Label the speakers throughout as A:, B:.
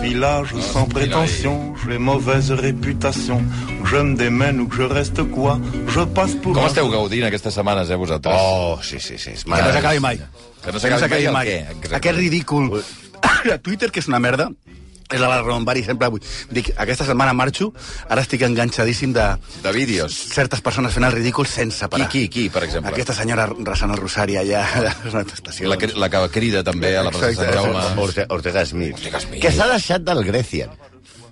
A: village sans prétention, j'ai mauvaise réputation. Que je me démène ou que je reste quoi, je passe pour
B: Com
A: un...
B: esteu gaudint aquestes setmanes, eh, vosaltres?
C: Oh, sí, sí, sí.
B: Que no s'acabi
C: mai.
B: Que no s'acabi mai el què? Exacte.
C: Aquest ridícul. A Twitter, que és una merda, és la barra on vari sempre avui. Dic, aquesta setmana marxo, ara estic enganxadíssim de
B: De vídeos.
C: certes persones fent el ridícul sense
B: Qui,
C: parar.
B: qui, qui, per exemple?
C: Aquesta senyora Rasana Rosari allà a la estació.
B: La, cri- la que crida també a la plaça Sant
C: Exacte,
B: Jaume.
D: Ortega, Ortega Smith.
B: Ortega Smith.
D: Que s'ha deixat del Grecian.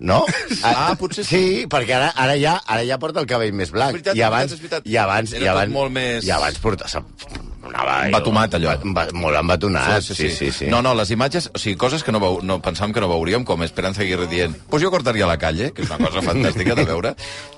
D: No?
B: Ah, potser sí.
D: Sí, perquè ara, ara, ja, ara ja porta el cabell més blanc.
B: És Ah, veritat,
D: I abans,
B: és veritat, és veritat.
D: I abans,
B: Era
D: i abans,
B: tot molt més-
D: I abans porta... s'ha- Anava,
B: Embatomat, allò.
D: Va, molt embatonat, sí, sí, sí. sí,
B: ah, No, no, les imatges, o sigui, coses que no, veu, no pensàvem que no veuríem, com Esperanza Aguirre dient, pues jo cortaria la calle, que és una cosa fantàstica de veure,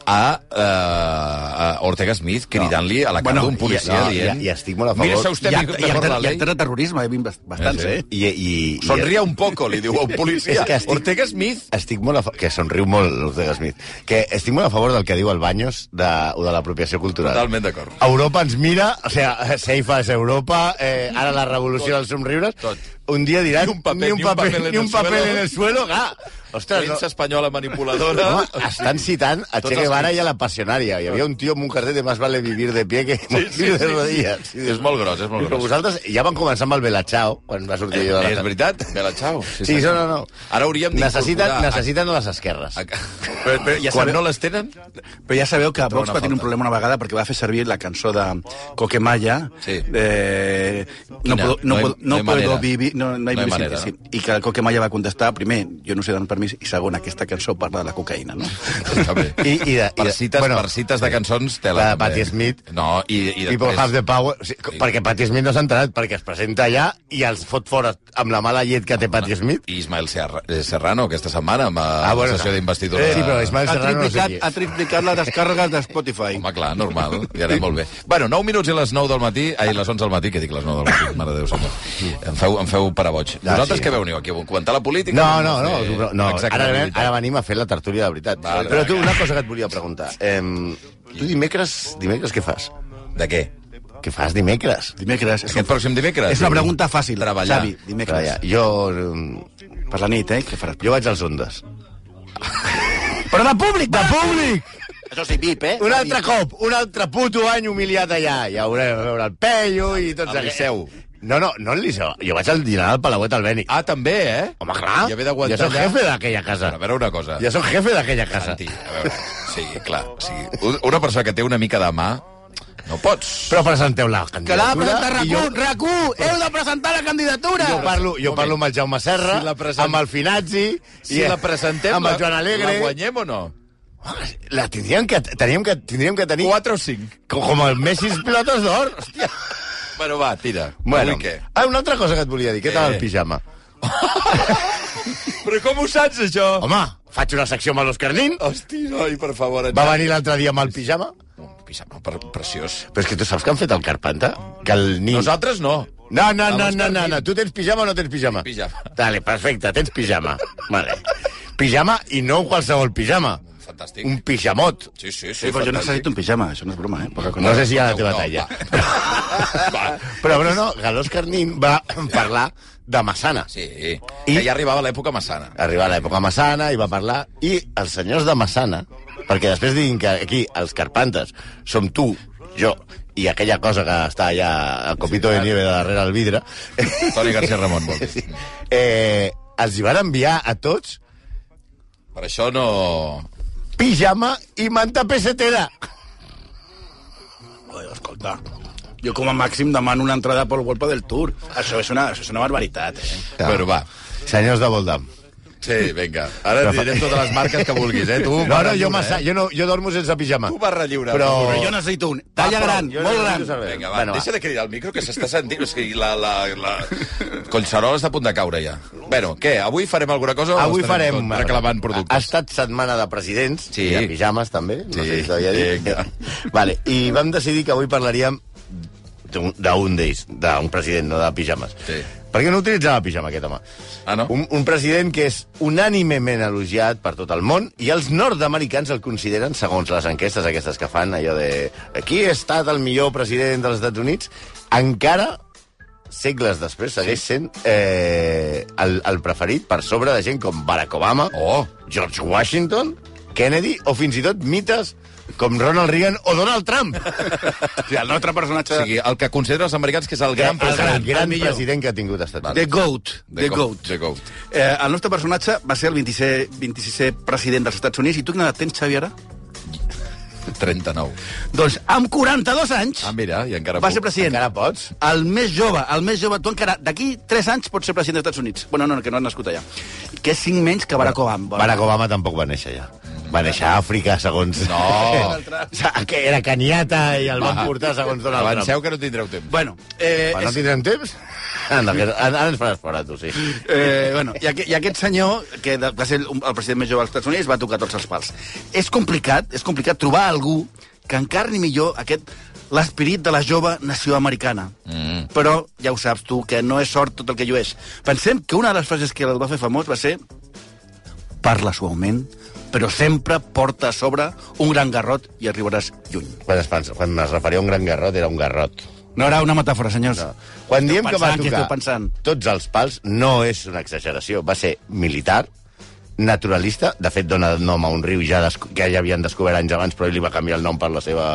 B: a, eh, a Ortega Smith cridant-li a la cara
C: Bueno,
B: d'un policia
D: i- no,
B: dient...
D: i- i estic molt a favor.
B: Mírese usted,
C: I,
B: mi-
C: acte, i,
B: mejor
C: acte,
B: la
C: i
B: ley.
C: acte de terrorisme he vist bast- bastants,
B: Sí,
C: eh?
B: sí.
D: I, i, i,
B: Sonria un poco, li diu a un policia.
D: És que estic-
B: Ortega Smith
D: Estic molt a fa... Que somriu molt l'Ortega Smith. Que estic molt a favor del que diu el Baños de, o de l'apropiació cultural.
B: Totalment d'acord.
D: Europa ens mira, o sigui, Seifa és Europa, eh, ara la revolució dels somriures.
B: Tot.
D: Un dia diran...
B: Ni un paper,
D: ni un paper,
B: en
D: ni un
B: el
D: paper
B: suelo.
D: en el suelo, ga! Ostres,
B: Premsa
D: no,
B: espanyola manipuladora.
D: Home, estan citant a
B: Tots
D: Che
B: els
D: Guevara
B: crits.
D: i a la passionària. Hi havia un tio amb un carrer de más vale vivir de pie que morir
B: sí, sí,
D: de
B: sí.
D: rodillas. I dius,
B: És molt gros, és molt
D: Però
B: gros.
D: vosaltres ja van començar amb el Belachao, quan va sortir allò de la...
B: Eh, És veritat? Bela Chao.
D: Sí, no, no, no.
B: Ara hauríem
D: necessiten,
B: d'incorporar...
D: necessiten a les esquerres.
B: a- Però, però ja Quan
C: sabeu-
B: no les tenen,
C: Però ja sabeu que Vox
B: una
C: va tenir un
B: falta.
C: problema una vegada perquè va fer servir la cançó de Coquemalla.
B: Sí.
C: Eh, no,
B: Quina?
C: puedo, no,
B: No hay-
C: puedo,
B: no
C: no,
B: hay manera.
C: puedo vivir... No, no, hay
B: No hay
C: vivir sin
B: manera,
C: ti, sí. I que el Coquemalla va contestar, primer, jo no sé d'on permís, i segon, aquesta cançó parla de la cocaïna, no?
B: també.
D: I- i de-
B: per,
D: i de-
B: cites,
D: bueno,
B: per cites de cançons, tela.
D: la de
B: també.
D: Patti Smith.
B: No, i, i
D: People
B: després...
D: have the power... O sigui, co- perquè Patti Smith no s'ha enterat, perquè es presenta allà i els fot fora amb la mala llet que té Patti Smith.
B: I Ismael Serra- eh, Serrano, aquesta setmana, amb ah,
D: Ah,
B: bueno,
D: bueno,
B: la sessió
D: no.
B: d'investidura.
D: Eh, sí, però Ismael-
C: Ha
D: Serrano no sé
C: triplicat,
D: qui és.
C: ha triplicat les descàrregues de Spotify.
B: Home, clar, normal, ja anem molt bé. Bueno, 9 minuts i les 9 del matí, ai, les 11 del matí, que dic les 9 del matí, mare de Déu, senyor. Em feu, em feu parar boig.
D: Ah,
B: Vosaltres
D: sí.
B: què veniu aquí? A Comentar la política?
D: No, no, no,
B: Fer-
D: no, no ara,
B: Exactament.
D: ven- ara venim a fer la tertúlia de veritat.
B: Vale,
D: Però tu,
B: vinga.
D: una cosa que et volia preguntar. Eh, tu dimecres, dimecres què fas?
B: De què?
D: Què fas dimecres?
C: Dimecres. És,
B: Aquest
C: un,
B: pròxim dimecres?
C: és una pregunta fàcil,
B: Treballar.
C: Xavi, dimecres.
D: Vaja, jo, eh,
C: Per la nit, eh? Què faràs?
D: jo vaig als Ondes.
C: Però de públic, de públic!
D: Això sí, VIP, eh? Un altre cop, un altre puto any humiliat allà. Ja haurem de veure el Pello i tots
B: Al
D: aquests.
B: Liceu.
D: No, no, no al Liceu. Jo vaig al dinar al Palauet al Beni.
B: Ah, també, eh?
D: Home, clar.
B: Ja ve d'aguantar
D: Ja soc
B: allà.
D: jefe d'aquella casa.
B: A veure una cosa.
D: Ja soc jefe d'aquella casa.
B: Santi, a veure, sí, clar, sí. Un- Una persona que té una mica de mà, no pots.
D: Però presenteu la candidatura.
C: Que l'ha de presentar
D: i
C: RAC1,
D: jo-
C: RAC1, heu de presentar la candidatura!
D: Jo parlo, jo parlo amb el Jaume Serra,
B: Si la present-
D: amb el Finazzi...
B: Si la presentem,
D: Amb el
B: la-
D: Joan Alegre...
B: la guanyem o no?
D: La, la tindríem que, teníem que, tindríem que tenir...
B: 4 o 5?
D: Com, com el Messi Pilotes d'Or. Hòstia.
B: Bueno, va, tira.
D: Bueno,
B: Avui què?
D: ah, una altra cosa que et volia dir. Què tal
B: Eh.
D: el pijama?
B: Però com ho saps, això?
D: Home, faig una secció amb l'Òscar Nin.
B: Hosti, noi, per favor.
D: Va venir l'altre dia amb el pijama.
B: Un pijama per preciós.
D: Però és que tu saps que han fet el Carpanta? Que el Nin...
B: Nosaltres no.
D: No, no, no,
B: Vamos,
D: no, no,
B: Carmín.
D: no. Tu tens pijama o no tens pijama?
B: Pijama.
D: Dale, perfecte, tens pijama. Vale. Pijama i no qualsevol pijama.
B: Fantàstic.
D: Un pijamot.
B: Sí, sí, sí.
C: Sí, però jo
B: fantàstic.
C: necessito un pijama, això no és broma, eh? Poca cosa.
D: No sé si hi ha la teva
B: No,
D: talla.
B: va. Va.
D: Però, però no, Galós Carnín va parlar de Massana.
B: Sí, I... que ja arribava l'època massana.
D: Arribar a l'època Massana i va parlar... I els senyors de Massana, perquè després diguin que aquí els carpantes som tu, jo, i aquella cosa que està allà a copito de nieve darrere el vidre,
B: Toni García Ramon, vol dir.
D: eh, els hi van enviar a tots
B: Per això no...
D: pijama i manta pesetera.
C: Oi, escolta, jo com a màxim demano una entrada pel Wolpa del Tour. Això és una, això és una barbaritat, eh?
D: Ja.
B: Bueno, va.
D: Senyors de Voldam.
B: Sí, vinga. Ara et direm totes les marques que vulguis, eh? Tu,
D: No, no,
B: barra
D: jo,
B: lliure,
D: massa,
B: eh?
D: jo, no, jo dormo sense pijama.
B: Tu Ah, barra lliure.
D: Però-
B: barra
C: Però
B: lliure.
C: jo necessito un. Talla
D: Va,
C: gran,
D: prou, jo
C: molt
D: necessito
C: gran.
D: saber.
B: Vinga, va,
D: Bueno,
B: bueno,
D: va.
B: deixa de cridar al micro, que s'està sentint... És que la, la, la... Collserola està a punt de caure, ja. Bueno, què? Avui farem alguna cosa? o
D: Avui
B: estarem
D: farem...
B: Tot reclamant
D: Ha
B: productes.
D: estat setmana de presidents,
B: Sí.
D: sí. i de pijames, també. No
B: Sí,
D: sé si t'havia dit.
B: vinga.
D: Vale, I vam decidir que avui parlaríem d'un- d'un d'ells, d'un president, no de pijames.
B: Sí.
D: Perquè no utilitzava pijama, aquest home.
B: Ah, no?
D: Un, un president que és unànimement elogiat per tot el món i els nord-americans el consideren, segons les enquestes aquestes que fan, allò de qui ha estat el millor president dels Estats Units, encara segles després, segueix sent eh, el, el preferit per sobre de gent com Barack Obama,
B: Oh.
D: George Washington, Kennedy, o fins i tot mites com Ronald Reagan o Donald Trump.
C: Sí, el nostre personatge...
B: O sigui, el que consideren els americans que és el gran
D: gran, el gran,
B: president.
C: el
D: gran
C: millor.
D: president que ha tingut Estats
C: The
D: Units.
C: Goat. The,
B: Go-
C: Goat.
B: The Goat.
C: Eh, el nostre personatge va ser el 26, 26è president dels Estats Units. I tu quina edat tens, Xavi, ara?
B: 39.
C: Doncs amb 42 anys
B: Ah, mira, i encara
C: va
B: puc.
C: ser president.
D: Encara pots?
C: El més jove, el més jove... Tu encara, d'aquí 3 anys pots ser president dels Estats Units. Bueno, no, no, que no has nascut allà. Que és 5 menys que Barack Obama.
D: Barack Obama tampoc va néixer allà. Va néixer a Àfrica, segons...
B: No.
D: O sigui, que era caniata i el van
B: Va.
D: portar segons Donald Trump.
B: Avanceu que no tindreu temps.
C: Bueno, eh,
D: Quan
C: és-
D: no tindrem temps? Anda, que, ara ara ens faràs fora, tu, sí.
C: Eh, bueno, i, aquest, I aquest senyor, que de- va ser el, el president més jove dels Estats Units, va tocar tots els pals. És complicat, és complicat trobar algú que encarni millor aquest l'esperit de la jove nació americana. Mm. Però ja ho saps tu, que no és sort tot el que llueix. Pensem que una de les frases que el va fer famós va ser parla suaument, però sempre porta a sobre un gran garrot i arribaràs lluny.
D: Quan es, pensa, quan es referia a un gran garrot, era un garrot.
C: No era una metàfora, senyors.
D: No. Quan diem que va
C: pensant, què
D: tocar
C: esteu pensant?
D: tots els pals, no és una exageració. Va ser militar, naturalista, de fet dona nom a un riu ja desco- que ja havien descobert anys abans, però ell li va canviar el nom per la seva...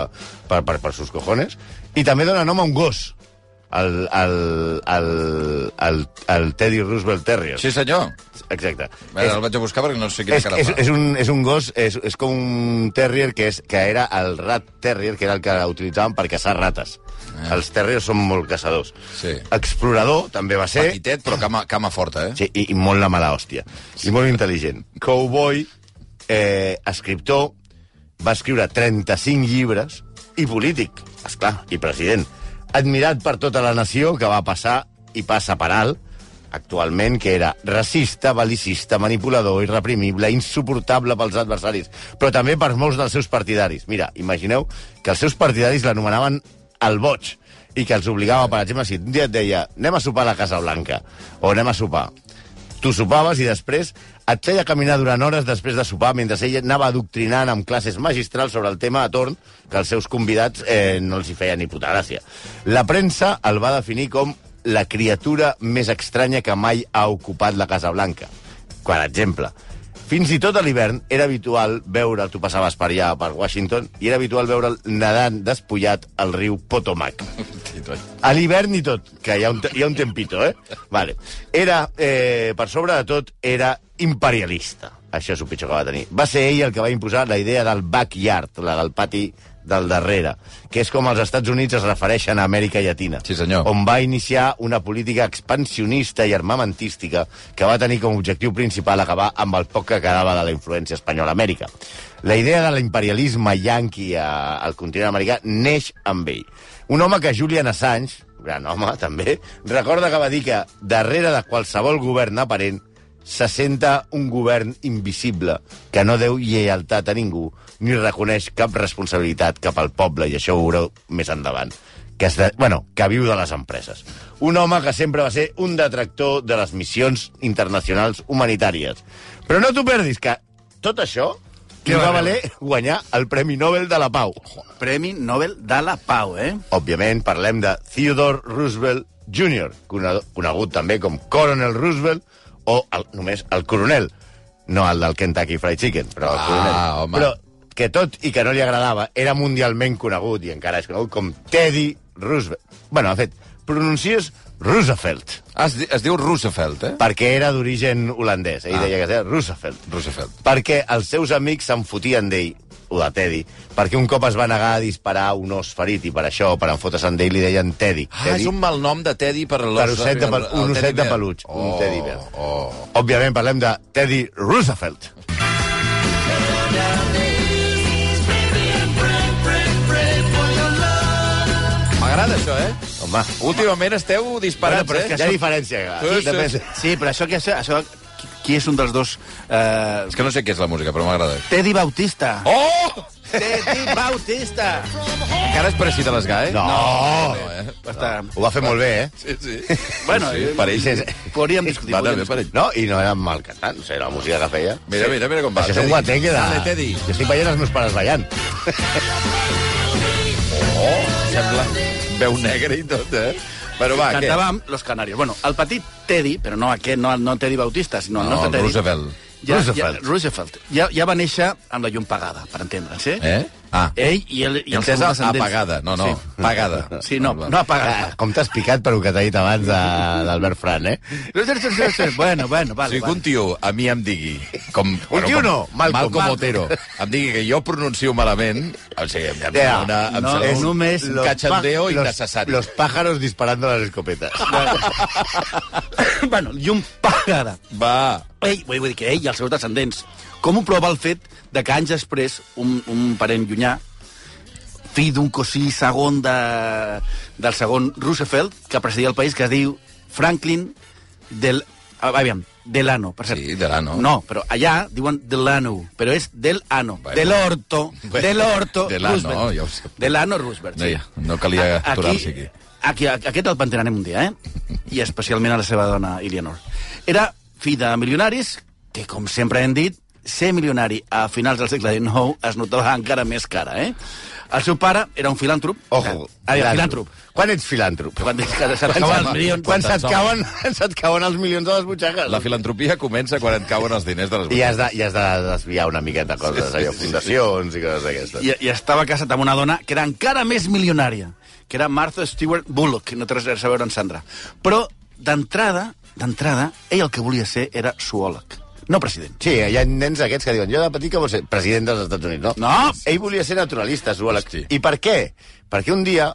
D: per, per, per sus cojones, i també dona nom a un gos, el, el, el, el, el Teddy Roosevelt Terrier.
B: Sí, senyor.
D: Exacte.
B: Bé, el vaig a buscar perquè no sé quina
D: És,
B: cara
D: és,
B: fa.
D: és, un, és un gos, és, és com un terrier que, és, que era el rat terrier, que era el que utilitzaven per caçar rates. Eh. Els terriers són molt caçadors.
B: Ah. Sí.
D: Explorador també va ser,
B: Petitet, però cama, cama forta, eh?
D: sí, i, i molt la mala hòstia. I molt intel·ligent. Cowboy, eh, escriptor, va escriure 35 llibres, i polític, esclar, i president. Admirat per tota la nació, que va passar i passa per alt, actualment, que era racista, balicista, manipulador, irreprimible, insuportable pels adversaris, però també per molts dels seus partidaris. Mira, imagineu que els seus partidaris l'anomenaven el boig, i que els obligava, per exemple, si un dia et deia anem a sopar a la Casa Blanca, o anem a sopar, tu sopaves i després et feia caminar durant hores després de sopar mentre ell anava adoctrinant amb classes magistrals sobre el tema a torn que els seus convidats eh, no els hi feia ni puta gràcia. La premsa el va definir com la criatura més estranya que mai ha ocupat la Casa Blanca. Per exemple, fins i tot a l'hivern era habitual veure, tu passaves per allà, per Washington, i era habitual veure'l nedant despullat al riu Potomac. A l'hivern i tot, que hi ha, un, te- hi ha un tempito, eh? Vale. Era, eh, per sobre de tot, era imperialista. Això és el pitjor que va tenir. Va ser ell el que va imposar la idea del backyard, la del pati del darrere, que és com els Estats Units es refereixen a Amèrica Llatina.
B: Sí, senyor.
D: On va iniciar una política expansionista i armamentística que va tenir com a objectiu principal acabar amb el poc que quedava de la influència espanyola a Amèrica. La idea de l'imperialisme yanqui a- al continent americà neix amb ell. Un home que Julian Assange, gran home també, recorda que va dir que darrere de qualsevol govern aparent s'assenta un govern invisible que no deu lleialtat a ningú ni reconeix cap responsabilitat cap al poble, i això ho veureu més endavant que, es de, bueno, que viu de les empreses. Un home que sempre va ser un detractor de les missions internacionals humanitàries. Però no t'ho perdis, que tot això li va valer guanyar el Premi Nobel de la Pau.
C: Premi Nobel de la Pau, eh?
D: Òbviament, parlem de Theodore Roosevelt Jr., cone- conegut també com Coronel Roosevelt o el, només el coronel, no el del Kentucky Fried Chicken, però el
B: Ah,
D: coronel.
B: home.
D: Però que tot i que no li agradava, era mundialment conegut i encara és conegut com Teddy Roosevelt. Bueno, de fet, pronuncies Roosevelt,
B: Ah, es, di- es diu Roosevelt, eh?
D: perquè era d'origen holandès. Ell
B: Ah.
D: deia que era Roosevelt
B: Roosevelt.
D: perquè els seus amics se'n fotien d'ell, o de Teddy, perquè un cop es va negar a disparar un os ferit i per això, per enfotre-se'n d'ell, li deien Teddy.
B: Ah,
D: Teddy.
B: és un mal nom de Teddy per l'os...
D: Per osset de pel-
B: el-
D: un
B: el
D: osset
B: teddy
D: de
B: bear.
D: peluig, un
B: Oh,
D: teddy bear.
B: Oh.
D: Òbviament parlem de Teddy Roosevelt.
B: M'agrada això, eh?
D: Home,
B: Últimament esteu disparats,
C: Bueno, però és
B: eh?
D: hi ha diferència.
B: Sí, sí.
D: Depèn-
C: Sí, però això que... Això, qui- qui és un dels dos... Eh,
B: És que no sé què és la música, però m'agrada.
C: Teddy Bautista.
B: Oh!
C: Teddy Bautista.
B: Encara és pareixit a les GAE?
D: No.
B: no eh?
C: Està...
D: Ho va fer molt bé, eh?
B: Sí, sí.
C: Bueno,
B: sí,
C: eh,
B: pareix.
D: Sí, sí.
C: Podríem discutir.
B: Va,
C: podríem
B: també, pareix.
D: No, i no era mal cantant, o sigui, la música que feia.
B: Mira, mira, mira com va.
D: Això és un
B: Teddy.
D: guateque de...
B: Dale, Teddy.
D: Jo estic veient els meus pares ballant.
B: Sembla veu negra i tot, eh?
D: Però va, què?
C: Cantàvem Los Canarios. Bueno, el petit Teddy, però no aquest, no, no Teddy Bautista, sinó el
B: No,
C: nostre
B: el
C: Teddy...
B: Roosevelt.
C: Ja,
D: Roosevelt.
C: Roosevelt. Ja, Roosevelt. Ja, ja va néixer amb la llum pagada, per entendre'ns, eh?
B: Eh? Ah.
C: Ell i el, i els seus
B: Entesa
C: descendents.
B: apagada. No, no,
C: Sí.
B: pagada.
C: Sí, no, no
D: Ah,
C: apagada.
D: com t'has picat per el que t'ha dit abans de- d'Albert Fran, eh?
C: Bueno, bueno, vale.
B: si
C: vale.
B: un tio a mi em digui... Com, un
D: tio no, Malcolm.
B: Malcom
D: Malcolm.
B: Otero. Em digui que jo pronuncio malament... O sigui, em, em
D: Ja,
B: sembla una, em
C: no,
B: sembla
C: és
B: un,
C: només
B: un
C: los
B: cachondeo
D: Los-
B: innecessari.
D: Los pájaros disparando las escopetas.
C: bueno, llum pagada.
B: Va,
C: Ell, vull vull dir que ell i els seus descendents. Com ho prova el fet de que anys després un, un parent llunyà, fill d'un cosí segon de, del segon Roosevelt, que presidia el país, que es diu Franklin del... ah, Aviam, Delano, per cert.
B: Sí, Delano.
C: No, però allà diuen Delano, però és del ano,
B: Bueno.
C: del orto,
B: Bueno,
C: del orto,
B: Delano,
C: Roosevelt.
B: ja ho sé.
C: Delano Roosevelt, sí.
B: Deia, no calia
C: A-
B: aturar-se aquí.
C: Aquí, a- aquest el pentinarem un dia, eh? I especialment a la seva dona, Eleanor. Era fill de milionaris, que, com sempre hem dit, ser milionari a finals del segle XIX es notava encara més cara, eh? El seu pare era un filàntrop.
D: Ojo,
C: Ah, era filàntrop.
D: Quan ets filàntrop?
C: Quan dic que eh? se't
D: Quan,
C: acaben els
D: se't-
C: milions...
D: quan se't,
B: Quantes
D: cauen, se't cauen els milions a les butxaques.
B: la filantropia comença quan et cauen els diners de les
D: I
B: butxaques.
D: has de, i has de desviar una miqueta coses, sí, sí, allò, fundacions i coses d'aquestes.
C: I, I estava casat amb una dona que era encara més milionària, que era Martha Stewart Bullock, que no té res a veure amb Sandra. Però, d'entrada, d'entrada, ell el que volia ser era zoòleg, no president.
D: Sí, hi ha nens aquests que diuen, jo de petit que vol ser president dels Estats Units, no?
C: No.
D: Ell volia ser naturalista, zoòleg.
B: Hosti.
D: I per què? Perquè un dia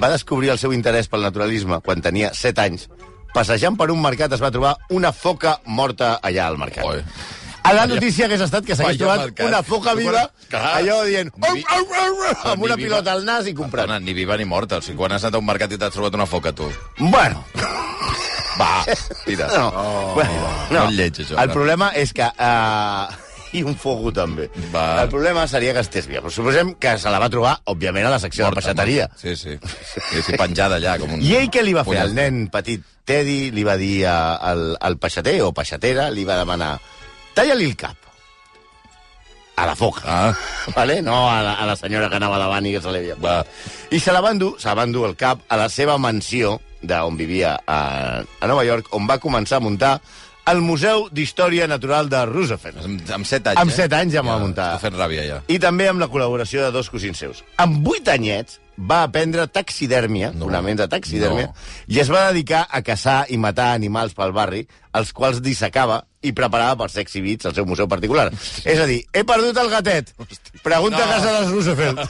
D: va descobrir el seu interès pel naturalisme quan tenia 7 anys. Passejant per un mercat es va trobar una foca morta allà al mercat.
B: Oi.
D: A la notícia hagués estat que s'hagués
B: Vaya
D: trobat
B: mercat.
D: una foca viva,
B: Clar.
D: allò dient...
B: Ni
D: "Au,
B: vi-
D: au, au, au", amb
B: Ni
D: una
B: viva-
D: pilota al nas i comprant.
B: Perdona, ni viva ni morta. O sigui, quan has anat a un mercat i t'has trobat una foca, tu.
D: Bueno,
B: Va, tira.
D: No. Bueno,
B: Oh, no et lleig, això,
D: El
B: no.
D: problema és que... Uh, I un fogo, també.
B: Va.
D: El problema seria que estés viva. Però suposem que se la va trobar, òbviament, a la secció de peixateria.
B: Sí, sí. Sí, sí, penjada allà. Com un...
D: I ell què li va fer?
B: Pollastre.
D: El nen petit Teddy li va dir a- al, al peixater o peixatera, li va demanar talla-li el cap. A la foca.
B: Ah,
D: Vale? No a la, a la senyora que anava davant i que se l'havia...
B: Va.
D: I se la van dur, se la van dur al cap a la seva mansió d'on vivia a, a Nova York, on va començar a muntar el Museu d'Història Natural de Roosevelt.
B: amb, amb set anys, eh?
D: Amb set anys ja m'ho va
B: ja,
D: muntar.
B: Està fent ràbia, ja.
D: I també amb la col·laboració de dos cosins seus. Amb vuit anyets va aprendre taxidèrmia,
B: No.
D: no. fonaments de taxidèrmia,
B: No.
D: i es va dedicar a caçar i matar animals pel barri, els quals dissecava i preparava per ser exhibits al seu museu particular. És a dir, he perdut el gatet. Pregunta
B: No.
D: a casa dels Roosevelt.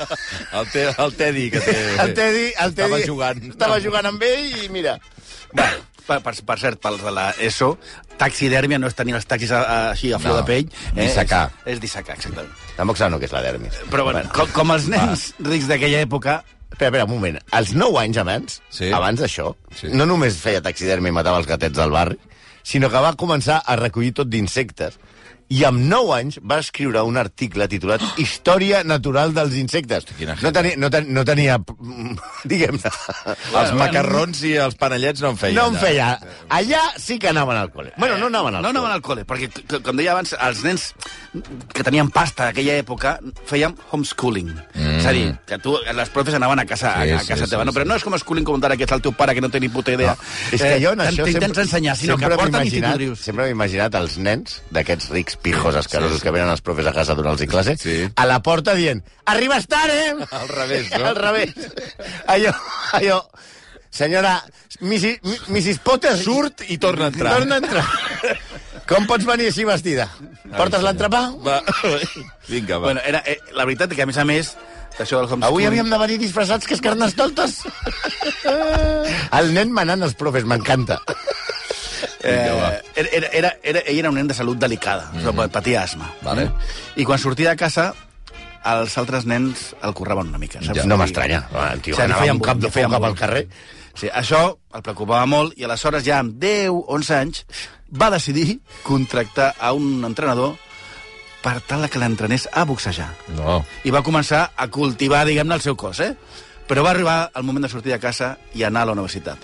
B: El, te, el Teddy, que té...
D: El Teddy, el Teddy
B: Estava jugant.
D: Estava jugant amb ell i mira...
C: Bueno, per, per, per cert, pels de la ESO, taxidèrmia no és tenir els taxis a, a, així a flor
B: No,
C: de pell. eh,
B: dissecar.
C: És, és dissecar, exactament.
D: Tampoc sap no que és la dermis.
C: Però bueno, com, com els nens rics d'aquella època...
D: Espera, espera, un moment. Als 9 anys abans,
B: Sí.
D: sí. abans d'això,
B: Sí.
D: sí. no només feia taxidermi i matava els gatets del barri, sinó que va començar a recollir tot d'insectes. I amb 9 anys va escriure un article titulat Història natural dels insectes.
B: quina
D: No tenia, no, ten, no tenia mm, diguem-ne...
B: Els macarrons i els panellets no en feien.
D: No en
B: allà.
D: feia. Allà sí que anaven al col·le. Bueno, no anaven al
C: No anaven
D: col·le.
C: al col·le, perquè, c- c- com deia abans, els nens que tenien pasta d'aquella època feien homeschooling. Mm. És a dir, que tu, les profes anaven a casa,
B: Sí,
C: a, a
B: sí,
C: casa
B: sí,
C: teva. no,
B: sí.
C: però no és com homeschooling com ara que és el teu pare que no té ni puta idea. No.
D: És que
B: Eh,
D: jo en això
C: T'intents ensenyar, sinó que
D: sempre m'he
C: porten
D: imaginat-
C: institutrius.
D: Sempre m'he imaginat els nens d'aquests rics pijos escarosos
B: Sí, sí.
D: que venen els profes a casa a donar-los classe,
B: Sí.
D: a la porta dient «Arribes tard, eh?»
B: Al revés, no?
D: Al revés. Allò, allò... Senyora, Mrs, Mrs. Potter...
B: Surt i torna a entrar.
D: Torna a entrar. Com pots venir així vestida? Portes l'entrepà?
B: Va. Vinga, va.
C: Bueno, era, eh, la veritat és que, a més a més, això del homeschooling...
D: Avui havíem de venir disfressats que és carnestoltes. El nen manant els profes, m'encanta.
B: Vinga, va.
C: Eh, era, era, era, era, ell era un nen de salut delicada, mm
D: Mhm.
C: -hmm. patia asma.
B: Vale.
C: I quan sortia de casa, els altres nens el curraven una mica. Saps?
D: Ja, no m'estranya. El tio
C: O sigui, li
D: anava
C: feien
D: amb cap
C: bullying,
D: de
C: li feien
D: foca pel
C: bullying.
D: carrer.
C: Sí, això el preocupava molt i aleshores ja amb 10, 11 anys va decidir contractar a un entrenador per tal que l'entrenés a boxejar.
B: No.
C: I va començar a cultivar, diguem-ne, el seu cos, eh? Però va arribar el moment de sortir de casa i anar a la universitat.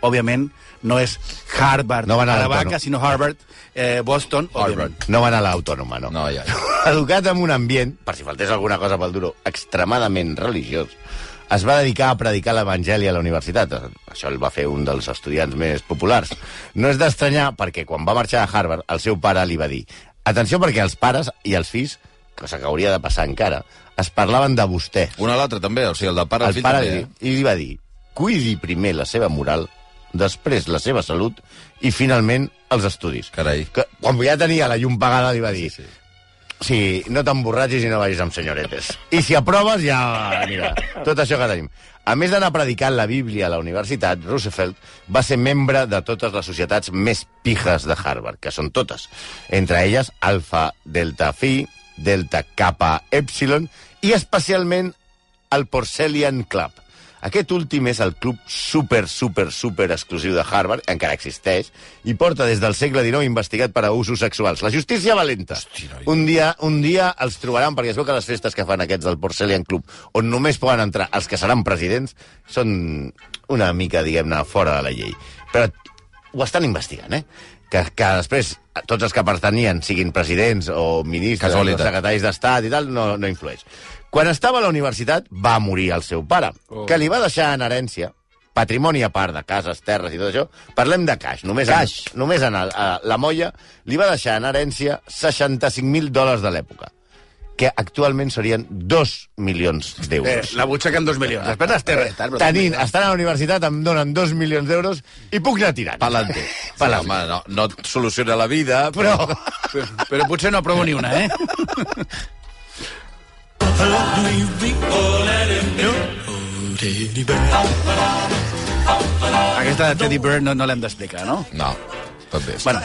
C: Òbviament, no és Harvard,
D: No va anar a
C: Aravaca,
D: l'Autònoma.
C: sinó Harvard, eh, Boston, òbviament.
D: No va anar a l'autònoma, no.
B: No, ja. ja.
D: Educat en un ambient, per si faltés alguna cosa pel duro, extremadament religiós, es va dedicar a predicar l'Evangeli a la universitat. Això el va fer un dels estudiants més populars. No és d'estranyar perquè quan va marxar a Harvard el seu pare li va dir atenció perquè els pares i els fills, cosa que hauria de passar encara, es parlaven de vostè.
B: Un a l'altre també, o sigui, el del pare al
D: El
B: fill
D: pare
B: també. eh?
D: li, i li va dir cuidi primer la seva moral, després la seva salut i finalment els estudis.
B: Carai.
D: Que, quan ja tenia la llum pagada li va dir sí, sí. sí no t'emborratxis i no vagis amb senyoretes. I si aproves ja... Mira, tot això que tenim. A més d'anar predicant la Bíblia a la universitat, Roosevelt va ser membre de totes les societats més pijes de Harvard, que són totes. Entre elles, Alfa Delta Phi, Delta Kappa Epsilon i especialment el Porcelian Club. Aquest últim és el club super, super, super exclusiu de Harvard, encara existeix, i porta des del segle XIX investigat per a usos sexuals. La justícia valenta.
B: noi.
D: un, dia, un dia els trobaran, perquè es veu que les festes que fan aquests del Porcelian Club, on només poden entrar els que seran presidents, són una mica, diguem-ne, fora de la llei. Però ho estan investigant, eh? Que, que després tots els que pertanyien siguin presidents o ministres o
B: Casualitat.
D: secretaris d'estat i tal, no, no influeix. Quan estava a la universitat va morir el seu pare, oh. que li va deixar en herència patrimoni a part de cases, terres i tot això. Parlem de caix. Només
C: Caix.
D: En, només en el, a la molla li va deixar en herència 65.000 dòlars de l'època que actualment serien 2 milions
C: Eh,
D: d'euros.
C: la butxaca amb dos milions. Després les terres.
D: Tenint, estant a la universitat, em donen 2 milions d'euros i puc anar tirant.
B: Palante.
D: Palante.
B: Home, no, no et soluciona la vida, però...
D: Però...
C: Però, però potser no aprovo ni una, eh? Aquesta de Teddy Bird no, no l'hem d'explicar, no?
B: No, tot bé.
C: Bueno,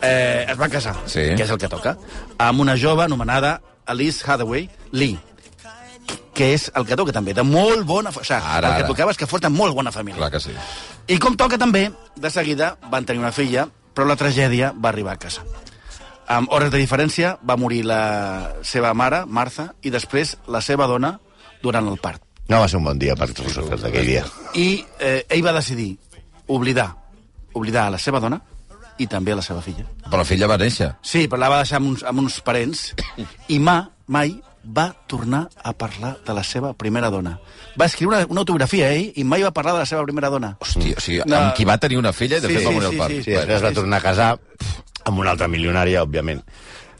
C: eh, es va casar,
B: Sí.
C: que és el que toca, amb una jove anomenada Alice Hathaway Lee, que és el que toca també, de molt bona... fa- O sigui,
B: Ara,
C: el
B: ara.
C: que tocava és que forta molt bona família.
B: Clar que sí.
C: I com toca també, de seguida van tenir una filla, però la tragèdia va arribar a casa. Amb hores de diferència va morir la seva mare, Martha, i després la seva dona durant el part.
D: No va ser un bon dia per Roosevelt aquell dia.
C: I eh, ell va decidir oblidar, oblidar a la seva dona i també a la seva filla.
B: Però la filla va néixer.
C: Sí, però la va deixar amb uns, amb uns parents i ma, mai va tornar a parlar de la seva primera dona. Va escriure una, una autografia ell i mai va parlar de la seva primera dona.
B: Hòstia, o sigui,
C: No.
B: amb qui va tenir una filla i de
C: Sí,
B: fet va
C: sí,
B: morir
C: sí,
B: el pare.
C: sí,
D: Sí, després es va tornar a casar pf, amb una altra milionària, òbviament.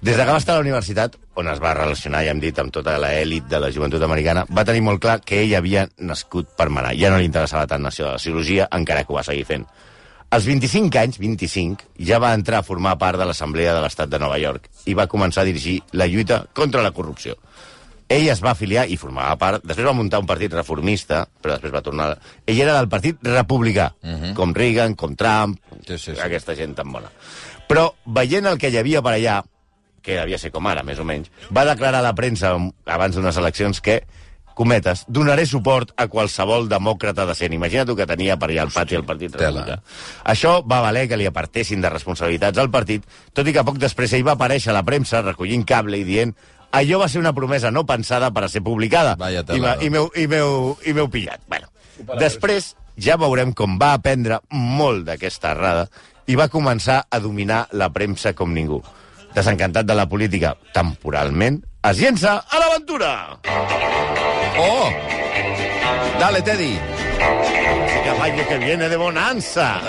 D: Des de que va estar a la universitat, on es va relacionar, ja hem dit, amb tota l'elit de la joventut americana, va tenir molt clar que ell havia nascut per manar. Ja no li interessava tant això de la cirurgia, encara que ho va seguir fent. Als 25 anys, 25, ja va entrar a formar part de l'Assemblea de l'Estat de Nova York i va començar a dirigir la lluita contra la corrupció. Ell es va afiliar i formava part... Després va muntar un partit reformista, però després va tornar... Ell era del partit republicà, com Reagan, com Trump,
B: Mhm. Sí, sí, sí.
D: aquesta gent tan bona. Però veient el que hi havia per allà, que devia ser com ara, més o menys, va declarar a la premsa abans d'unes eleccions que cometes, donaré suport a qualsevol demòcrata decent. Imagina't el que tenia per allà al pati el Partit
B: tela.
D: Republicà. Això va valer que li apartessin de responsabilitats al partit, tot i que poc després ell va aparèixer a la premsa recollint cable i dient allò va ser una promesa no pensada per a ser publicada
B: Vaya
D: i,
B: tela,
D: va-
B: no?
D: i m'heu i m'heu- i m'heu pillat. Bueno, després ja veurem com va aprendre molt d'aquesta errada i va començar a dominar la premsa com ningú. Desencantat de la política temporalment, es llença a l'aventura!
B: Oh! Dale, Teddy!
D: Que vaya que viene de bonanza!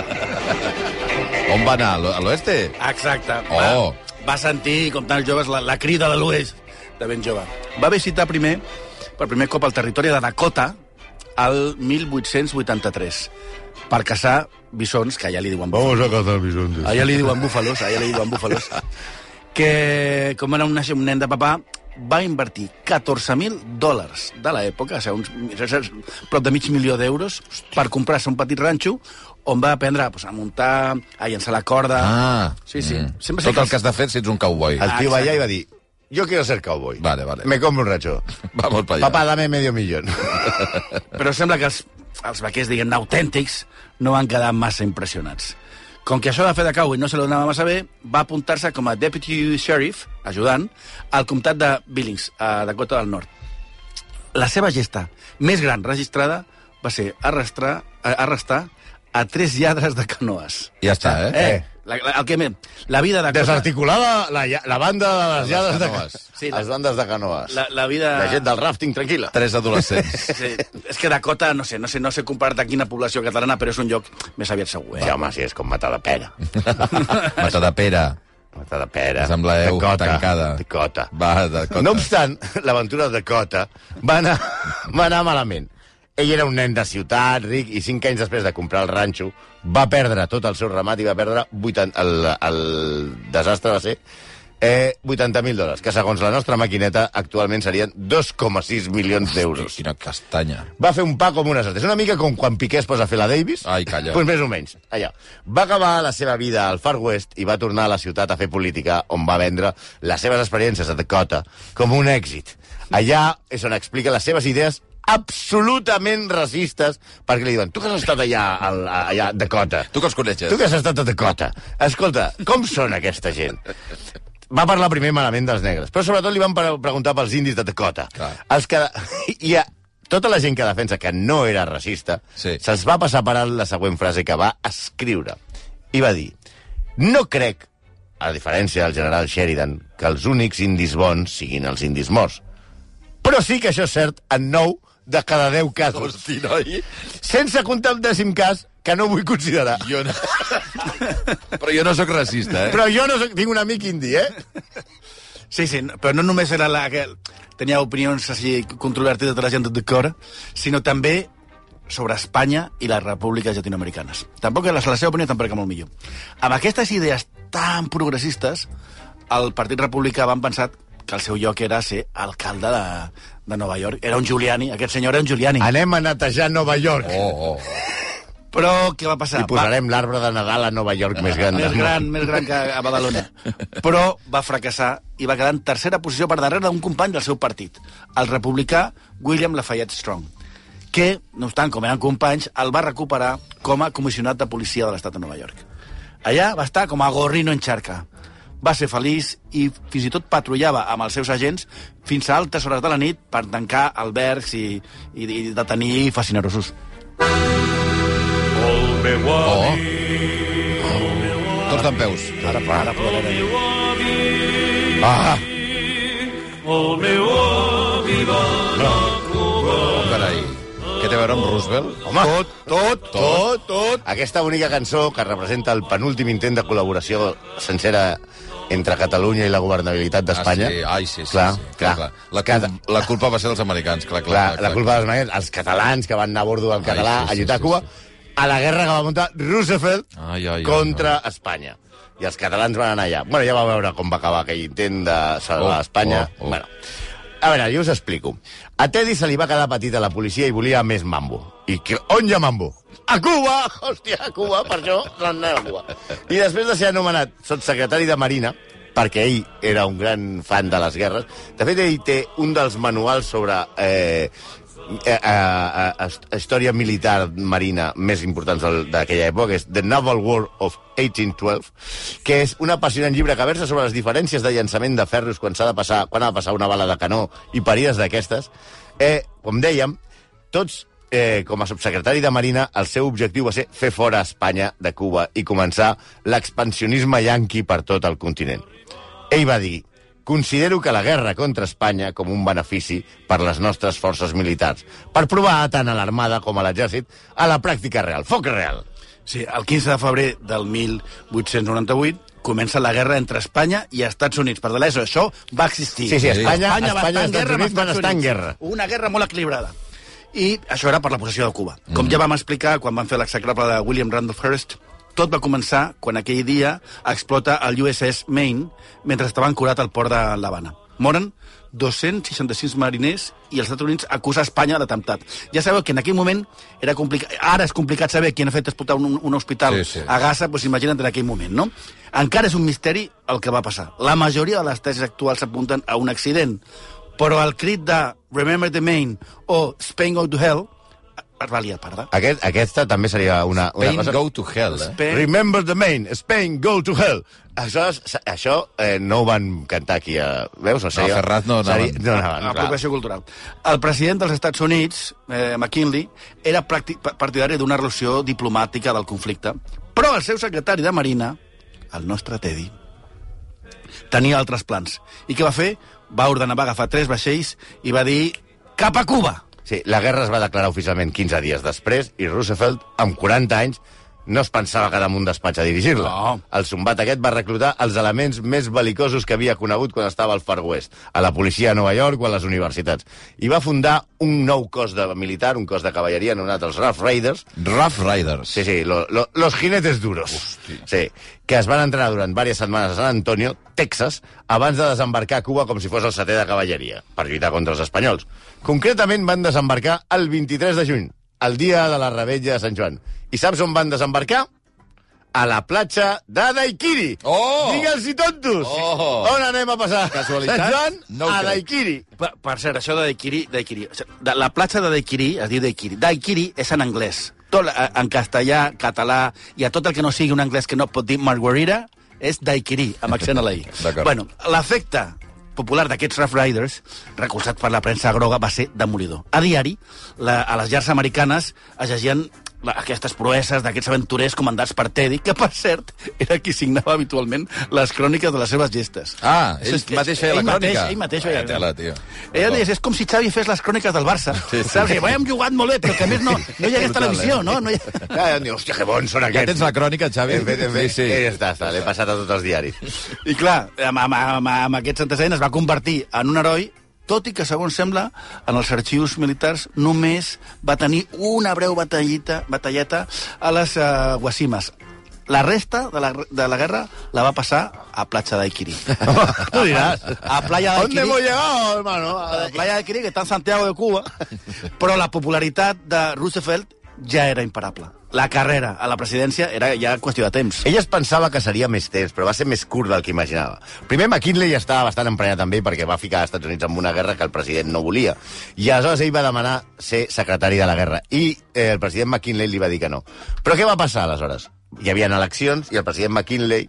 B: On va anar? A l'o- A l'oeste?
C: Exacte.
B: Oh.
C: Va, va sentir, com tants joves, la, la crida de l'oest, de ben jove. Va visitar primer, per primer cop, el territori de Dakota al 1883 per caçar bisons, que allà li diuen búfalos.
D: a cazar bisontes.
C: Allà li diuen búfalos, allà li diuen búfalos. que, com era un, naix- un nen de papà, va invertir 14.000 dòlars de l'època, o sigui, uns, és- és prop de mig milió d'euros, per comprar-se un petit ranxo on va aprendre pues, a muntar, a llançar la corda...
B: Ah!
C: Sí, sí. Sempre
B: Sempre Tot
C: sé
B: el que has de fer si ets un cowboy.
D: El tio va allà i va dir, yo quiero ser cowboy.
B: Vale, vale.
D: Me compro un racho.
B: Vamos pa allà.
D: Papá, dame medio millón.
C: Però sembla que els, els vaquers, diguem-ne, autèntics, no van quedar massa impressionats. Com que això de fer de cowboy no se lo donava massa bé, va apuntar-se com a deputy sheriff, ajudant, al comtat de Billings, a Dakota del Nord. La seva gesta més gran registrada va ser arrastrar, eh, arrestar a tres lladres de canoes.
B: Ja està, eh?
C: Eh, la, la, el que me, la vida de...
D: Desarticulada la, lla- la banda de les
B: De les
D: llades de
B: canoes.
D: canoes. Sí, les bandes de canoes.
C: La, la vida...
D: La gent del rafting, tranquil·la.
B: Tres adolescents.
C: Sí, és que Dakota, no sé, no sé, no sé comparat a quina població catalana, però és un lloc més aviat segur, eh?
D: Sí, home, sí, és com matar de pera.
B: Mata de pera.
D: Matar de pera.
B: És amb la EU
D: Dakota,
B: tancada.
D: Dakota.
B: Va, de cota.
D: No obstant, l'aventura de Cota va anar, va anar malament. Ell era un nen de ciutat, ric, i cinc anys després de comprar el ranxo va perdre tot el seu ramat i va perdre 80, el, el desastre va ser eh, 80.000 dòlars, que segons la nostra maquineta actualment serien 2,6 milions d'euros.
B: Quina castanya.
D: Va fer un pa com una sort. És una mica com quan Piqué es posa a fer la Davis.
B: Ai, calla.
D: Pues més o menys, allà. Va acabar la seva vida al Far West i va tornar a la ciutat a fer política, on va vendre les seves experiències a Dakota com un èxit. Allà és on explica les seves idees absolutament racistes, perquè li diuen, tu que has estat allà, al, allà a Dakota,
B: Tu que els coneixes?
D: tu que has estat a Dakota, escolta, com són aquesta gent? va parlar primer malament dels negres, però sobretot li van pre- preguntar pels indis de Dakota.
B: Clar.
D: Els que... I a tota la gent que defensa que no era racista,
B: Sí.
D: se'ls va passar per alt la següent frase que va escriure. I va dir, no crec, a diferència del general Sheridan, que els únics indis bons siguin els indis morts. Però sí que això és cert en 9 de cada 10 casos.
B: Hosti, noi.
D: Sense comptar el dècim cas, que no vull considerar.
B: Jo no... Però jo no sóc racista, eh?
D: Però jo no soc, tinc un amic indi, eh?
C: Sí, sí, no- però no només era la que tenia opinions així controvertides de la gent de Dakota, sinó també sobre Espanya i les repúbliques llatinoamericanes. Tampoc la, la seva opinió tampoc era molt millor. Amb aquestes idees tan progressistes, el Partit Republicà van pensar que el seu lloc era ser alcalde de, de Nova York. Era un Giuliani, aquest senyor era un Giuliani.
D: Anem a netejar Nova York.
B: Oh, oh.
C: Però què va passar?
D: I posarem l'arbre de Nadal a Nova York més gran.
C: Més
D: del
C: gran,
D: món.
C: més gran que a Badalona. Però va fracassar i va quedar en tercera posició per darrere d'un company del seu partit, el republicà William Lafayette Strong, que, no obstant, com eren companys, el va recuperar com a comissionat de policia de l'estat de Nova York. Allà va estar com a gorrino en xarca. Va ser feliç i fins i tot patrullava amb els seus agents fins a altes hores de la nit per tancar albergs i, i, i detenir fascinerosos.
B: oh. Tots d'en peus.
D: Ara, ara, Ah.
B: Oh, carai. Què té a veure amb Roosevelt?
D: Home. Tot, tot, tot, tot. Aquesta bonica cançó que representa el penúltim intent de col·laboració sencera entre Catalunya i la governabilitat
B: Ah,
D: d'Espanya.
B: sí. Ai, sí, sí.
D: Clar,
B: sí.
D: clar.
B: La,
D: Cada-
B: cul la culpa va ser dels americans, clar, clar.
D: clar, la culpa dels magnets, els catalans que van anar a bordo del català
B: sí, sí,
D: a lluitar
B: sí,
D: a Cuba,
B: sí,
D: a la guerra que va muntar Roosevelt
B: Ai, ai, ai,
D: contra Espanya. I els catalans van anar allà. Bueno, ja va veure com va acabar aquell intent de salvar
B: Oh,
D: Espanya.
B: oh, oh.
D: Bueno, a veure, jo us explico. A Teddy se li va quedar petita la policia i volia més mambo. I que, on hi ha mambo? A Cuba! Hòstia, a Cuba, per això no anem a Cuba. I després de ser anomenat sotssecretari de Marina, perquè ell era un gran fan de les guerres, de fet, ell té un dels manuals sobre eh, eh, eh, eh, història militar marina més importants del- d'aquella època, que és The Naval War of 1812, que és un apassionant llibre que versa sobre les diferències de llançament de ferros quan s'ha de passar, quan ha de passar una bala de canó i parides d'aquestes. Eh, com dèiem, tots eh, com a subsecretari de Marina, el seu objectiu va ser fer fora Espanya de Cuba i començar l'expansionisme yanqui per tot el continent. Ell va dir, considero que la guerra contra Espanya com un benefici per les nostres forces militars, per provar tant a l'armada com a l'exèrcit a la pràctica real, foc real.
C: Sí, el 15 de febrer del 1898 comença la guerra entre Espanya i Estats Units. Per l'ESO, això va existir.
D: Sí, sí,
C: Espanya,
D: Espanya, Espanya, Espanya i
C: va estar en
D: Estats
C: guerra,
D: Units van estar en guerra.
C: Una guerra molt equilibrada. I això era per la possessió de Cuba.
D: Mm.
C: Com ja vam explicar quan van fer l'execrable de William Randolph Hearst, tot va començar quan aquell dia explota el USS Maine mentre estava ancorat al port de l'Havana. Moren 266 mariners i els Estats Units acusa Espanya d'atemptat. Ja sabeu que en aquell moment era complicat... Ara és complicat saber qui ha fet explotar un, un hospital
B: Sí, sí.
C: a Gaza, doncs imagina't en aquell moment, no? Encara és un misteri el que va passar. La majoria de les tesis actuals s'apunten a un accident, però el crit de Remember the Main o Spain Go to Hell va liar parda.
D: Aquest, aquesta també seria una, una
B: Pain
D: cosa...
B: go to hell, eh?
C: Spain-
D: Remember the main, Spain, go to hell. Això, és- això eh, no ho van cantar aquí a... Veus? O sigui,
B: No, a Ferraz no anaven.
D: seria- No
C: a
D: anaven, Ah, clar.
C: apropiació cultural. El president dels Estats Units, eh, McKinley, era practi- pa- partidari d'una resolució diplomàtica del conflicte, però el seu secretari de Marina, el nostre Teddy, tenia altres plans. I què va fer? Va ordenar, va agafar tres vaixells i va dir cap a Cuba!
D: Sí, la guerra es va declarar oficialment 15 dies després i Roosevelt, amb 40 anys, no es pensava quedar en un despatx a dirigir-la.
C: No.
D: El sombat aquest va reclutar els elements més bel·licosos que havia conegut quan estava al Far West, a la policia de Nova York o a les universitats. I va fundar un nou cos de militar, un cos de cavalleria anomenat els Rough Raiders,
B: Rough Riders.
D: Sí, sí, lo, lo, los jinetes duros. Sí, que es van entrenar durant diverses setmanes a San Antonio, Texas, abans de desembarcar a Cuba com si fos el setè de cavalleria, per lluitar contra els espanyols. Concretament van desembarcar el 23 de juny, el dia de la rebetlla de Sant Joan. I saps on van desembarcar? A la platja de Daikiri.
B: Oh!
D: Digue'ls-hi tontos!
B: Oh!
D: On anem a passar?
B: Casualitat?
D: Sant Joan
B: No ho
D: a
B: crec.
D: Daikiri.
C: Per, per cert, això de Daiquiri... Daiquiri o sigui, de, la platja de Daiquiri es diu Daiquiri. Daiquiri és en anglès. Tot, la- en castellà, català, i a tot el que no sigui un anglès que no pot dir margarita, és Daiquiri, amb accent a la I.
B: D'acord.
C: Bueno, l'efecte popular d'aquests Rough Riders, recolzat per la premsa groga, va ser demolidor. A diari, la, a les llars americanes es llegien la, aquestes proeses d'aquests aventurers comandats per Teddy, que, per cert, era qui signava habitualment les cròniques de les seves gestes.
B: Ah, ell
C: Això és que-
B: mateix feia la
C: ell mateix-
B: crònica.
C: Ell mateix
B: Vaya
C: feia
B: tela, tio.
C: Ella deia, és com si Xavi fes les cròniques del Barça.
B: Sí, sí.
C: Sí, sí. Saps? Ho hem jugat molt bé, però que a més no, no hi hagués
B: Brutal,
C: televisió,
B: eh?
C: no? no hi...
D: Ah, hòstia, que bons són
B: Ja
D: aquests.
B: tens la crònica, Xavi?
D: Hem fet, hem fet.
B: Sí,
D: Ja
B: sí.
D: està, està, l'he passat a tots els diaris.
C: I clar, amb, amb, amb, amb aquests antecedents es va convertir en un heroi tot i que, segons sembla, en els arxius militars només va tenir una breu batallita, batalleta a les uh, Guasimes. La resta de la, de la guerra la va passar a Platja d'Aiquiri.
D: Tu diràs.
C: A Playa d'Aiquiri.
D: ¿Dónde hemos llegado, hermano?
C: a la playa de Quirí, que està en Santiago de Cuba, però la popularitat de Roosevelt ja era imparable. La carrera a la presidència era ja qüestió de
B: Doncs.
C: temps.
D: Ella es pensava que seria més temps, però va ser més curt del que imaginava. Primer, McKinley ja estava bastant emprenyat també perquè va ficar als Estats Units en una guerra que el president no volia. I aleshores ell va demanar ser secretari de la guerra. I eh, el president McKinley li va dir que no. Però què va passar aleshores? Hi havia eleccions i el president McKinley,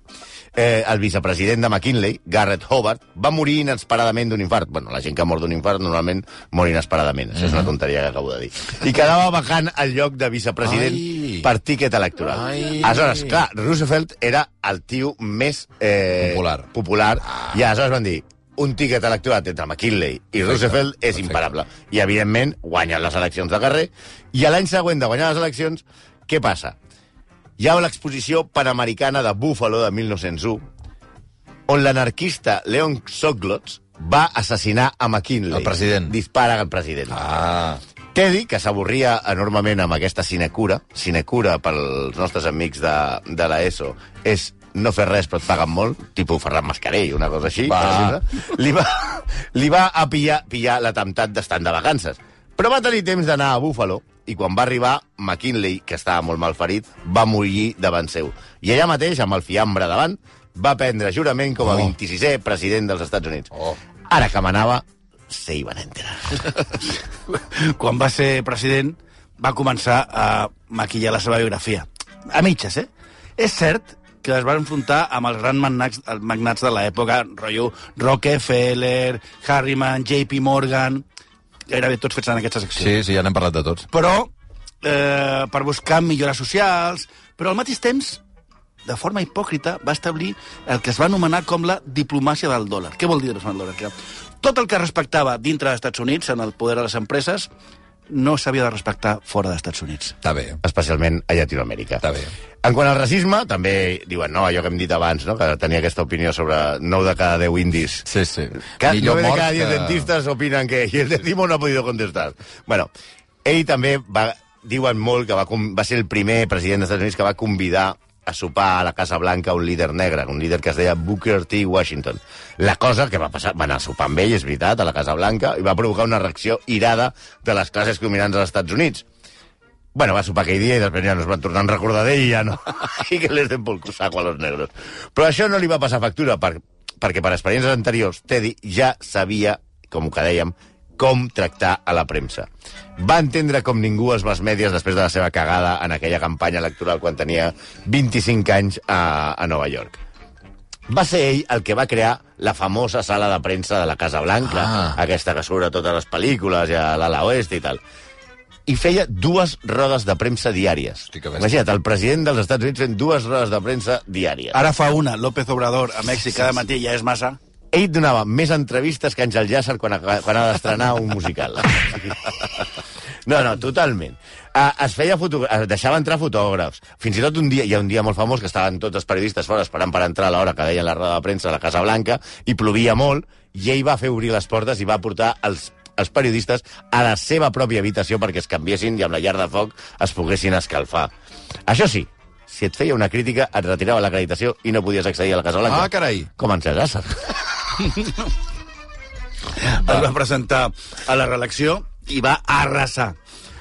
D: eh, el vicepresident de McKinley, Garrett Hobart, va morir inesperadament d'un infart. Bueno, la gent que mor d'un infart normalment mor inesperadament. Això és una tonteria que acabo de dir. I quedava vacant el lloc de vicepresident
B: Ai.
D: per tiquet electoral.
B: Ai.
D: Aleshores, clar, Roosevelt era el tio més... Eh,
B: Popular. Ah.
D: popular I aleshores van dir, un tiquet electorat entre McKinley i Roosevelt és
B: perfecte.
D: imparable. I, evidentment, guanyen les eleccions de carrer. I a l'any següent de guanyar les eleccions, què passa? Hi ha l'exposició panamericana de Buffalo de 1901, on l'anarquista Leon Soklots va assassinar a McKinley.
B: El president.
D: Dispara al president.
B: Ah,
D: Teddy, que s'avorria enormement amb aquesta sinecura, sinecura pels nostres amics de, de l'ESO, és no fer res però et paguen molt, tipus Ferran Mascarell, una cosa així,
B: Va.
D: per exemple, li va, li va a pillar, pillar l'atemptat d'estant de vacances. Però va tenir temps d'anar a Buffalo, i quan va arribar, McKinley, que estava molt malferit, va morir davant seu. I allà mateix, amb el fiambre davant, va prendre jurament com a
B: Oh.
D: 26è president dels Estats Units.
B: Oh.
D: Ara que manava, se hi van enterar.
C: Quan va ser president, va començar a maquillar la seva biografia. A mitges, eh? És cert que es va enfrontar amb els grans magnats, els magnats de l'època, rotllo Rockefeller, Harriman, JP Morgan... Gairebé tots fets en aquesta secció.
B: sí, sí, ja n'hem parlat de tots.
C: però eh, per buscar millores socials, però al mateix temps, de forma hipòcrita, va establir el que es va anomenar com la diplomàcia del dòlar. Què vol dir diplomàcia del dòlar? Que tot el que respectava dintre dels Estats Units, en el poder de les empreses, no s'havia de respectar fora dels Estats Units.
B: Està bé.
D: especialment a Llatinoamèrica.
B: Està bé.
D: En quant al racisme, també diuen, no, allò que hem dit abans, no, que tenia aquesta opinió sobre 9 de cada 10 indis.
B: Sí, sí.
D: Que
B: Millor
D: 9 de
B: mort
D: cada 10
B: que-
D: dentistes opinen que i el dentimo no ha podido contestar. Bueno, ell també va, diuen molt que va, com- va ser el primer president dels Estats Units que va convidar a sopar a la Casa Blanca un líder negre, un líder que es deia Booker T. Washington. La cosa que va passar, va anar a sopar amb ell, és veritat, a la Casa Blanca, i va provocar una reacció irada de les classes dominants dels Estats Units. Bueno, va sopar aquell dia i després ja no es van tornar a recordar d'ell i ja no. I que les den pel saco a los negros. Però això no li va passar factura per, perquè per experiències anteriors Teddy ja sabia, com que dèiem, com tractar a la premsa. Va entendre com ningú els mass mèdies després de la seva cagada en aquella campanya electoral quan tenia 25 anys a, a Nova York. Va ser ell el que va crear la famosa sala de premsa de la Casa Blanca,
B: Ah.
D: ah. aquesta que surt a totes les pel·lícules i a l'ala oest i tal. I feia dues rodes de premsa diàries.
B: Hosti, que bèstia.
D: Imagina't, el president dels Estats Units fent dues rodes de premsa diàries.
C: Ara fa una, López Obrador, a Mèxic, cada matí ja és massa.
D: Ell donava més entrevistes que Àngel Llàcer quan, ha- quan ha d'estrenar un musical. No, no, totalment. Uh, es feia foto... es deixava entrar fotògrafs. Fins i tot un dia, hi ha un dia molt famós que estaven tots els periodistes fora esperant per entrar a l'hora que deien la roda de premsa a la Casa Blanca i plovia molt i ell va fer obrir les portes i va portar els els periodistes a la seva pròpia habitació perquè es canviessin i amb la llar de foc es poguessin escalfar. Això sí, si et feia una crítica, et retirava l'acreditació i no podies accedir a la Casa Blanca.
B: Ah, carai.
D: Com en Cesar.
C: Ah. Es va presentar a la reelecció i va arrasar.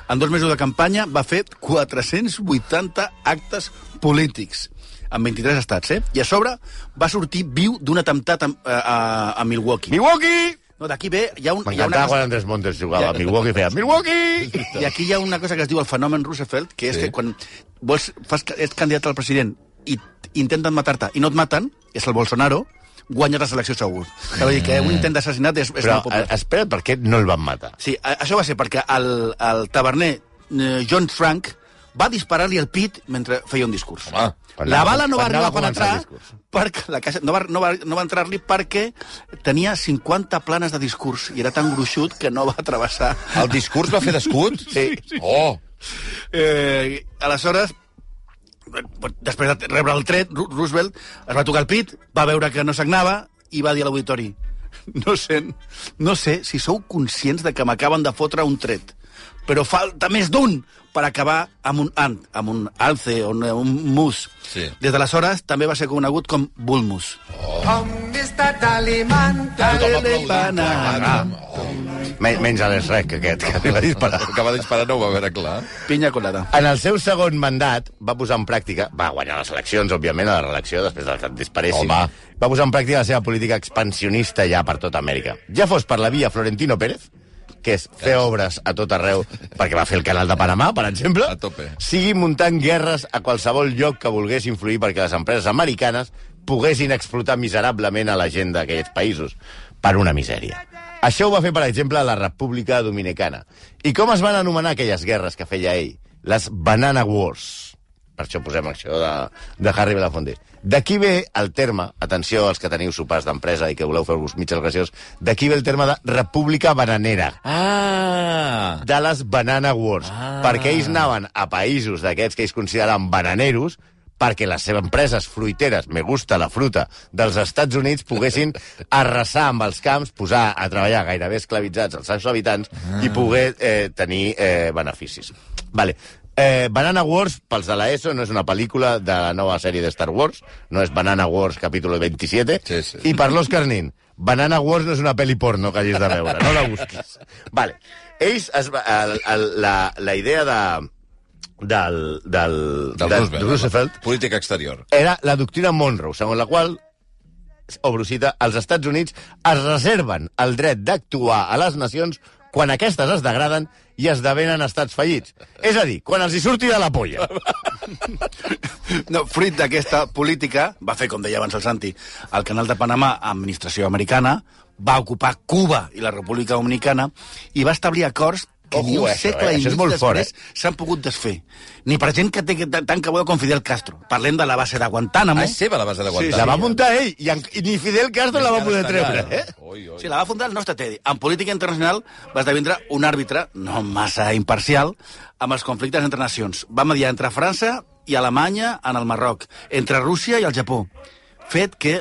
C: En dos mesos de campanya va fer 480 actes polítics en 23 estats, eh? I a sobre va sortir viu d'un atemptat a, a, a Milwaukee.
D: Milwaukee!
C: No, d'aquí ve... Hi ha un, hi ha una
D: M'encantava quan
C: cosa,
D: Andrés Montes jugava a Milwaukee i feia Milwaukee!
C: I aquí hi ha una cosa que es diu el fenomen Roosevelt, que és
B: Sí.
C: sí. que quan vols, fas, ets candidat al president i t- intenten matar-te i no et maten, és el Bolsonaro, guanyes la selecció segur. Mm. Dir que un intent d'assassinat és, és
D: Però,
C: molt popular.
D: eh, espera't, per què no el van matar?
C: Sí, a- això va ser perquè el, el taverner eh, John Frank va disparar-li el pit mentre feia un discurs.
B: Home,
D: quan
C: la
D: anava-
C: bala no va
D: quan
C: arribar a
D: anava a començar
C: penetrar
D: el discurs.
C: perquè la caixa no va, no va, no va entrar-li perquè tenia 50 planes de discurs i era tan gruixut que no va travessar.
B: El discurs va fer d'escut? Sí. Oh,
C: Eh, aleshores, després de rebre el tret, Ru- Roosevelt es va tocar el pit, va veure que no sagnava i va dir a l'auditori no, sent, no sé si sou conscients de que m'acaben de fotre un tret, però falta més d'un per acabar amb un ant, amb un alce o un, un mus.
B: Sí.
C: Des d'aleshores també va ser conegut com Bulmus.
B: tothom aplaudint. Ah,
C: Banana.
D: Men menys a les rec, aquest, que li va disparar.
B: que va disparar no ho va veure clar.
C: Pinya colada.
D: En el seu segon mandat va posar en pràctica... Va guanyar les eleccions, òbviament, a la reelecció, després de que et disparessin.
B: Home.
D: Va posar en pràctica la seva política expansionista ja per tota Amèrica. Ja fos per la via Florentino Pérez, que és fer obres a tot arreu, perquè va fer el canal de Panamà, per exemple.
B: A tope.
D: Sigui muntant guerres a qualsevol lloc que volgués influir perquè les empreses americanes poguessin explotar miserablement a la gent d'aquells països per una misèria. Això ho va fer, per exemple, a la República Dominicana. I com es van anomenar aquelles guerres que feia ell? Les Banana Wars. Per això posem això de, de Harry Belafonte. D'aquí ve el terme, atenció als que teniu sopars d'empresa i que voleu fer-vos mitges graciós, d'aquí ve el terme de República Bananera
B: Ah!
D: de les Banana Wars,
B: Ah.
D: ah. perquè ells anaven a països d'aquests que ells consideraven bananeros perquè les seves empreses fruiteres, me gusta la fruta, dels Estats Units poguessin arrasar amb els camps, posar a treballar gairebé esclavitzats els seus habitants i poder eh, tenir eh, beneficis. Vale. Eh, Banana Wars, pels de l'ESO, no és una pel·lícula de la nova sèrie de Star Wars, no és Banana Wars capítol 27,
B: Sí, sí.
D: i per l'Òscar Nin, Banana Wars no és una pel·li porno que hagis de veure, no la busquis. Vale. Ells, es, va- el, el, la, la idea de, del, del,
B: Del
D: de-
B: Roosevelt.
D: Roosevelt
B: Política exterior.
D: era la doctrina Monroe, segons la qual obro cita, els Estats Units es reserven el dret d'actuar a les nacions quan aquestes es degraden i esdevenen estats fallits. És a dir, quan els hi surti de la polla.
C: No, fruit d'aquesta política, va fer, com deia abans el Santi, el canal de Panamà, administració americana, va ocupar Cuba i la República Dominicana i va establir acords que
D: Ojo,
C: ni un
D: això,
C: segle
D: eh?
C: i
D: Això és
C: mig
D: molt fort, eh?
C: després s'han pogut desfer. Ni per gent que té que- tant que veu com Fidel Castro. Parlem de la base de Guantánamo.
B: Ah, és seva la base de
D: Sí,
B: Guantánamo.
D: la va muntar ell i, en, i ni Fidel Castro la va poder treure, eh?
B: Oi, oi.
C: Sí, la va fundar el nostre Teddy. En política internacional va esdevindre un àrbitre, no massa imparcial, amb els conflictes entre nacions. Va mediar entre França i Alemanya en el Marroc, entre Rússia i el Japó. Fet que,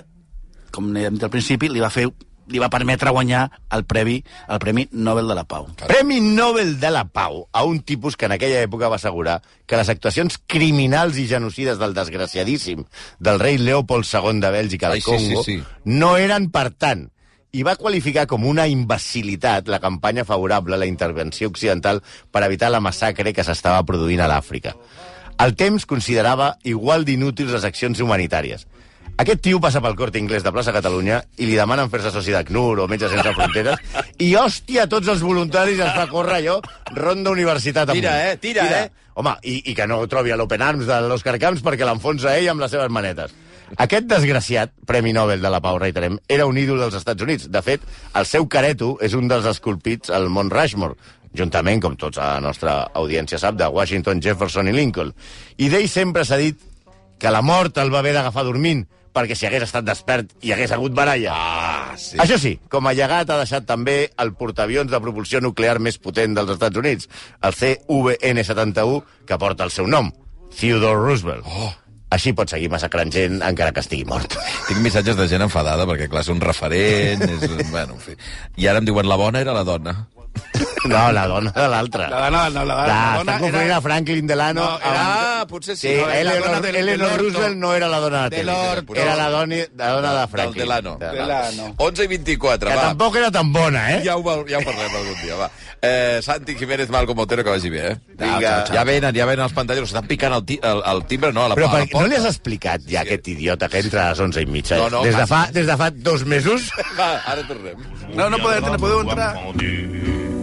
C: com hem dit al principi, li va fer li va permetre guanyar el premi, el Premi Nobel de la Pau.
D: Premi Nobel de la Pau a un tipus que en aquella època va assegurar que les actuacions criminals i genocides del desgraciadíssim del rei Leopold II de Bèlgica al
B: Ai, sí,
D: Congo
B: sí, sí.
D: no eren per tant i va qualificar com una imbecilitat la campanya favorable a la intervenció occidental per evitar la massacre que s'estava produint a l'Àfrica. El temps considerava igual d'inútils les accions humanitàries. Aquest tio passa pel Corte Inglés de plaça Catalunya i li demanen fer-se soci d'ACNUR o Metges Sense Fronteres i, hòstia, tots els voluntaris els fa córrer allò ronda universitat amunt.
B: Tira, eh? Tira, eh?
D: Home, i, i que no trobi a l'Open Arms de l'Òscar Camps perquè l'enfonsa ell amb les seves manetes. Aquest desgraciat, Premi Nobel de la Pau, reiterem, era un ídol dels Estats Units. De fet, el seu careto és un dels esculpits al Mont Rushmore, juntament, com tots a la nostra audiència sap, de Washington, Jefferson i Lincoln. I d'ell sempre s'ha dit que la mort el va haver d'agafar dormint, perquè si hagués estat despert hi hagués hagut baralla.
B: Ah, sí.
D: Sí. Això sí, com a llegat ha deixat també el portaavions de propulsió nuclear més potent dels Estats Units, el CVN-71, que porta el seu nom, Theodore Roosevelt. Oh. Així pot seguir massacrant gent encara que estigui mort.
B: Tinc missatges de gent enfadada, perquè, clar, és un referent... És, un- bueno, en fi. I ara em diuen, la bona era la dona.
D: No, la dona de l'altra.
C: La dona, no, la dona,
D: Clar,
C: la
D: està
C: dona
D: confonent
C: era...
D: a Franklin Delano
C: No, era...
D: amb...
C: Ah, potser sí.
D: Sí,
C: no, era la dona
D: Eleanor,
C: del-
D: Eleanor
C: del orto.
D: Roosevelt no era la dona de
C: De
D: la
C: l'orto.
D: tele. Era la dona, la dona de Franklin.
B: Del Delano.
C: Delano.
B: 11 i 24,
D: Que
B: va.
D: tampoc era tan bona, eh?
B: Ja ho, val- ja ho parlem algun dia, va. Eh, Santi Jiménez Malcom Otero, que vagi bé, eh?
D: Vinga.
B: Ja venen, ja venen els pantallos. Estan picant el, ti el, el timbre, no, a la,
D: Però
B: a
D: per,
B: la
D: no
B: porta.
D: li has explicat ja aquest idiota que entra a les 11 i mitja?
B: No, no,
D: des, de
B: passa.
D: fa, des de fa dos mesos?
B: Va, ara tornem.
C: No, no podeu, no podeu entrar.